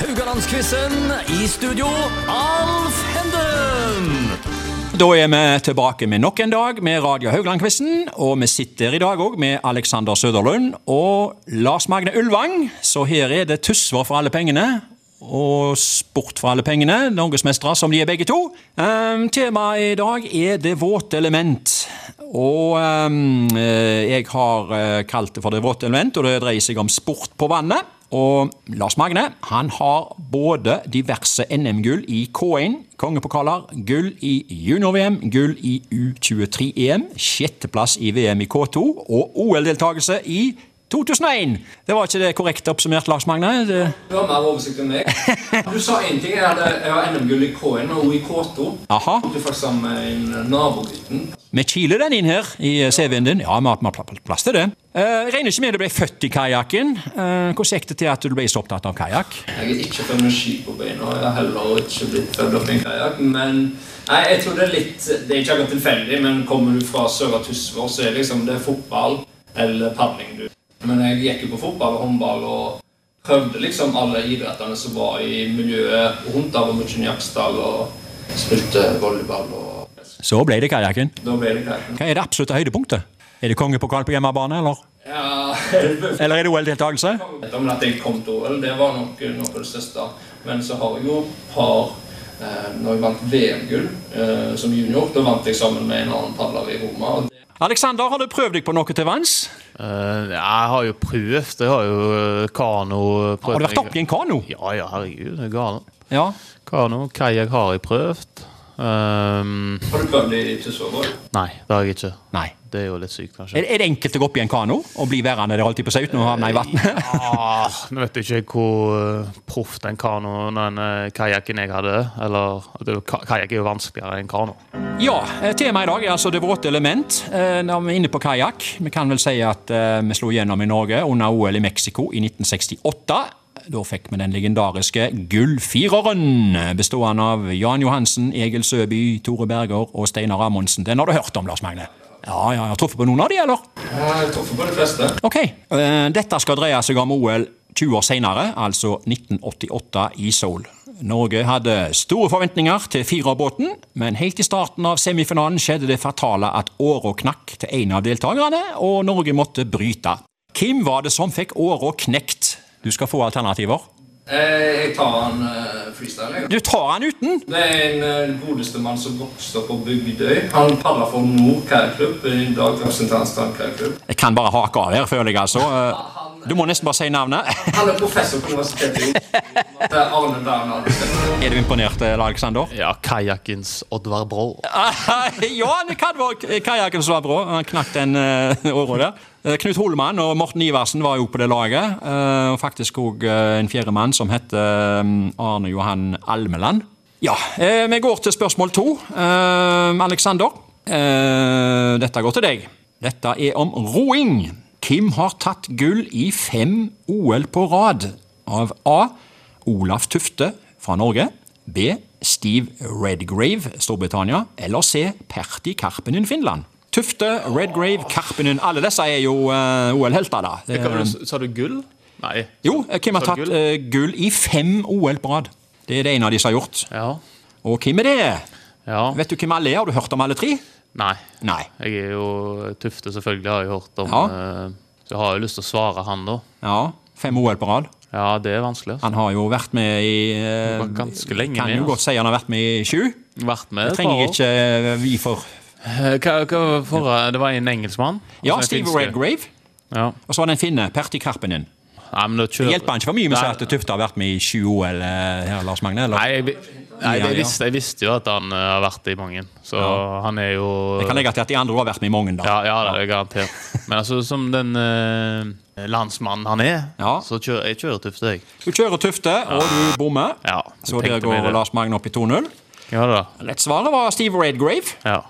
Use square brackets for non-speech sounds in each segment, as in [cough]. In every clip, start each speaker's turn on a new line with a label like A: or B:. A: Haugalandsquizen i studio, Alf Henden!
B: Da er vi tilbake med nok en dag med Radio Haugland-quizen. Og vi sitter i dag òg med Alexander Søderlund og Lars Magne Ulvang. Så her er det tusser for alle pengene. Og sport for alle pengene. Norgesmestere som de er begge to. Ehm, temaet i dag er det våte element. Og ehm, eh, jeg har eh, kalt det for det våte element, og det dreier seg om sport på vannet. Og Lars Magne han har både diverse NM-gull i K1, kongepokaler, gull i junior-VM, gull i U23-EM, sjetteplass i VM i K2 og OL-deltakelse i 2001. Det var ikke det korrekt oppsummert, Lars Magne? Det...
C: Du har mer oversikt enn meg. Du sa én ting. Jeg hadde jeg har NM-gull i K1 og i K2.
B: Aha.
C: Du faktisk sammen med en nabogutten.
B: Vi kiler den inn her i CV-en din. Ja, vi har- vi har pl- plass til det. Eh, regner ikke med du ble født i kajakken. Eh, hvordan gikk det til at du ble så opptatt av kajakk?
C: Jeg er ikke født med ski på beina. og Jeg har heller ikke blitt født opp i en kajakk. Men nei, jeg tror det er litt Det er ikke akkurat tilfeldig, men kommer du fra Søra Tysvær, så er det liksom det er fotball eller padling du Men jeg gikk jo på fotball og håndball og prøvde liksom alle idrettene som var i miljøet rundt der, og mye i Jaktsdal, og spilte volleyball og
B: Så ble det kajakken.
C: Da ble det kajakken.
B: Hva er det absolutte høydepunktet? Er det kongepokal på hjemmebane, eller?
C: Ja,
B: Eller er det OL-deltakelse?
C: Men at jeg kom til OL, det var nok noe av det største. Men så har jeg jo et par eh, Når jeg vant VM-gull eh, som junior, da vant jeg sammen med en annen padler i Roma. og det-
B: Alexander, har du prøvd deg på noe til vanns?
D: Eh, jeg har jo prøvd. Jeg har jo eh, kano prøvd.
B: Har du vært oppi en kano?
D: Ja, ja, herregud. Det er galt.
B: Ja.
D: Kano, kajakk har jeg prøvd. Ehm,
C: Har du prøvd det i Tysværvåg?
D: nei, det har jeg ikke.
B: Nei.
D: Det er jo litt sykt, kanskje.
B: Er, er det enkelt å gå opp i en kano og bli værende der alltid på seg uten å havne i vannet?
D: [laughs] Ah, nå vet jeg ikke hvor eh, proff den kanoen, den eh, kajakken jeg hadde Eller det er jo- ka- kajakk er jo vanskeligere enn kano.
B: Ja, eh, temaet i dag er altså det våte element. Eh, Når vi er inne på kajakk, vi kan vel si at eh, vi slo gjennom i Norge under OL i Mexico i 1968. Da fikk vi den legendariske gullfireren, bestående av Jan Johansen, Egil Søby, Tore Berger og Steinar Amundsen. Den har du hørt om, Lars Magne? Ja, ja, har du truffet på noen av de, eller?
C: Ja, Eh, Jeg tror på de fleste.
B: Ok, eh, dette skal dreie seg om OL 20 år senere, altså 1988 i Seoul. Norge hadde store forventninger til firerbåten, men helt i starten av semifinalen skjedde det fatale at åra knakk til en av deltakerne, og Norge måtte bryte. Hvem var det som fikk åra knekt? Du skal få alternativer.
C: Eh, Jeg tar en eh, freestyle. jeg.
B: Du tar den uten!
C: Det er en eh, godeste mann som vokste opp på Bygdøy. Han padler for Nord kajakklubb, i dag representantstrand kajakklubb.
B: Jeg kan bare hake av her, føler jeg, altså. Eh, Du må nesten bare si navnet. [laughs]
C: Han er professor på Universitetet i Oslo. Det er Arne Bernhard.
B: Er du imponert, eh, Alexander?
D: Ja, kajakkens Oddvar Brå.
B: ja, det kan være eh, kajakken som var bra. Han knakk den uh, åra der. Eh, Knut Holman og Morten Iversen var jo på det laget. eh, og faktisk òg eh, en fjerdemann som heter eh, Arne Johan Almeland. Ja, eh, vi går til spørsmål to. Eh, Aleksander, eh, dette går til deg. Dette er om roing. Kim har tatt gull i fem OL på rad av A. Olaf Tufte fra Norge. B. Steve Redgrave, Storbritannia. Eller C. Pertti Karpinen, Finland. Tufte, Redgrave, Karpinen. Alle disse er jo eh, OL-helter, da. Det,
D: sa du gull? Nei.
B: jo, Kim har
D: Sa
B: tatt
D: du
B: gull?
D: gull?
B: gull i fem OL på rad. Det er det en av de som har gjort.
D: Ja.
B: Og hvem er det?
D: ja.
B: Vet du hvem alle er? Har du hørt om alle tre?
D: Nei.
B: Nei.
D: Jeg er jo Tufte, selvfølgelig, har jeg hørt om.
B: Ja.
D: eh, Så jeg har jo lyst til å svare han, da.
B: Ja, fem OL på rad.
D: Ja, det er vanskelig. altså.
B: Han har jo vært med i eh,
D: Var ganske lenge
B: Kan
D: med,
B: jo
D: altså.
B: godt si han har vært med i sju.
D: Vært med
B: Det
D: et
B: trenger
D: par
B: jeg ikke eh, vi for.
D: år. Eh, Hva, hva for, eh, det var en engelskmann?
B: Ja,
D: Altså, en
B: Steve
D: finske.
B: Redgrave.
D: Ja.
B: Og så var det en finne, Pertti Karpinen.
D: Nei, men da kjører
B: Det hjelper han ikke for mye med å si
D: Nei.
B: at Tufte har vært med i 20 OL eh, her, Lars Magne? Eller?
D: Nei, jeg, vi- nei
B: Ja,
D: jeg,
B: ja.
D: visste, jeg visste jo at han eh, har vært i mange. Så han er jo
B: Jeg kan legge til at de andre har vært med i mange, da.
D: ja, ja, det er garantert.
B: [laughs]
D: Men altså, som den eh, landsmannen han er,
B: Ja.
D: så kjører jeg kjører Tufte, jeg.
B: Du kjører Tufte, og du bommer.
D: Ja,
B: Så
D: jeg
B: der
D: tenkte meg
B: går
D: det.
B: Lars Magne opp i 2-0.
D: Ja da.
B: Lett svaret var Steve Redgrave.
D: Ja.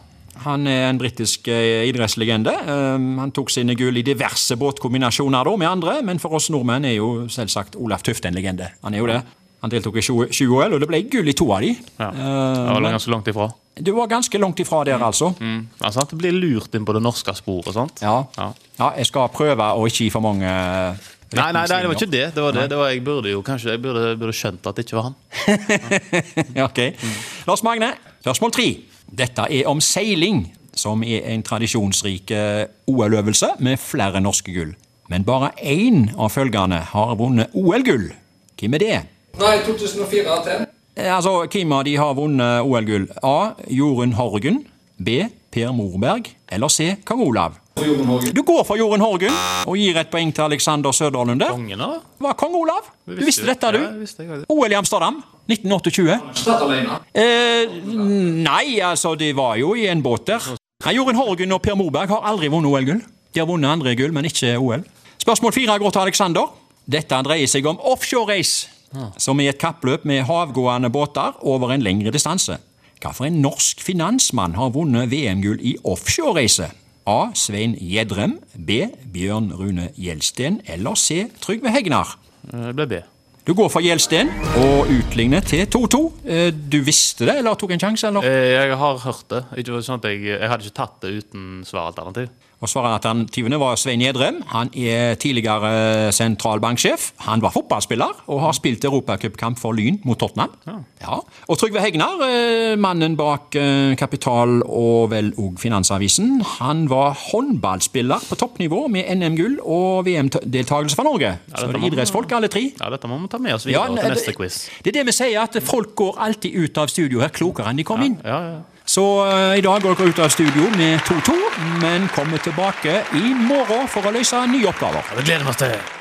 B: Han er en britisk eh, idrettslegende. Um, Han tok sine gull i diverse båtkombinasjoner da, med andre, men for oss nordmenn er jo selvsagt Olaf Tufte en legende. Han er jo det. Han deltok i 20 20 OL, og det ble gull i to av de.
D: ja.
B: Eh,
D: Jeg var ganske langt ifra.
B: Du var ganske langt ifra der, altså.
D: Mm. Altså, at det blir lurt inn på det norske sporet, sant?
B: Ja.
D: Ja.
B: ja, jeg skal prøve å ikke gi for mange eh,
E: Nei, nei, nei, det var ikke det. det, var det. det var, jeg burde jo kanskje jeg burde, burde skjønt at det ikke var han.
B: Ja, [laughs] ok. Lars Magne, spørsmål tre. Dette er om seiling, som er en tradisjonsrik eh, OL-øvelse med flere norske gull. Men bare én av følgende har vunnet OL-gull. Hvem er det?
C: Nei, 2004 Aten.
B: Eh, Altså, Hvem av de har vunnet OL-gull? A. Jorunn Horgen. B. Per Morberg. Eller C. Kong Olav.
C: Og Jorunn Hågen.
B: Du går for Jorunn Horgen og gir et poeng til Alexander Søderlund der.
E: Kongen, da?
B: Var kong Olav? Du visste dette,
E: Ja, jeg
B: du?
E: visste det.
B: OL i Amsterdam 1928.
C: Ikke tatt alene.
B: Eh, nei, altså, de var jo i en båt der. Nei, Jorunn Horgen og Per Morberg har aldri vunnet OL-gull. De har vunnet andre gull, men ikke OL. Spørsmål fire går til Alexander. Dette dreier seg om offshore race, som er et kappløp med havgående båter over en lengre distanse. Hvilken norsk finansmann har vunnet VM-gull i offshore race? A. Svein Gjedrem. B. Bjørn Rune Gjelsten. Eller C. Trygve Hegnar.
E: Eh, Det ble B.
B: Du går for Gjelsten og utligner til 2-2. Eh, Du visste det, eller tok en sjanse? eller?
E: Eh, Jeg har hørt det. Ikke sånn at jeg, jeg hadde ikke tatt det uten svaralternativ.
B: Og Svaralternativene var Svein Gjedrem. Han er tidligere sentralbanksjef. Han var fotballspiller og har spilt europacupkamp for Lyn mot Tottenham. Ja. Og Trygve Hegnar, eh, mannen bak eh, Kapital og vel òg Finansavisen, han var håndballspiller på toppnivå med NM-gull og VM-deltakelse for Norge. Så
E: dette
B: det
E: må-
B: er idrettsfolk, alle tre.
E: Ja, Dette må vi ta med oss videre
B: nei,
E: til
B: det-
E: neste quiz.
B: Det er det vi sier, at folk går alltid ut av studio her klokere enn de kom inn.
E: Ja, ja.
B: Så eh, i dag går dere ut av studio med 2-2, men kommer tilbake i morgen for å løse nye oppgaver.
E: Ja, Det gleder vi oss til.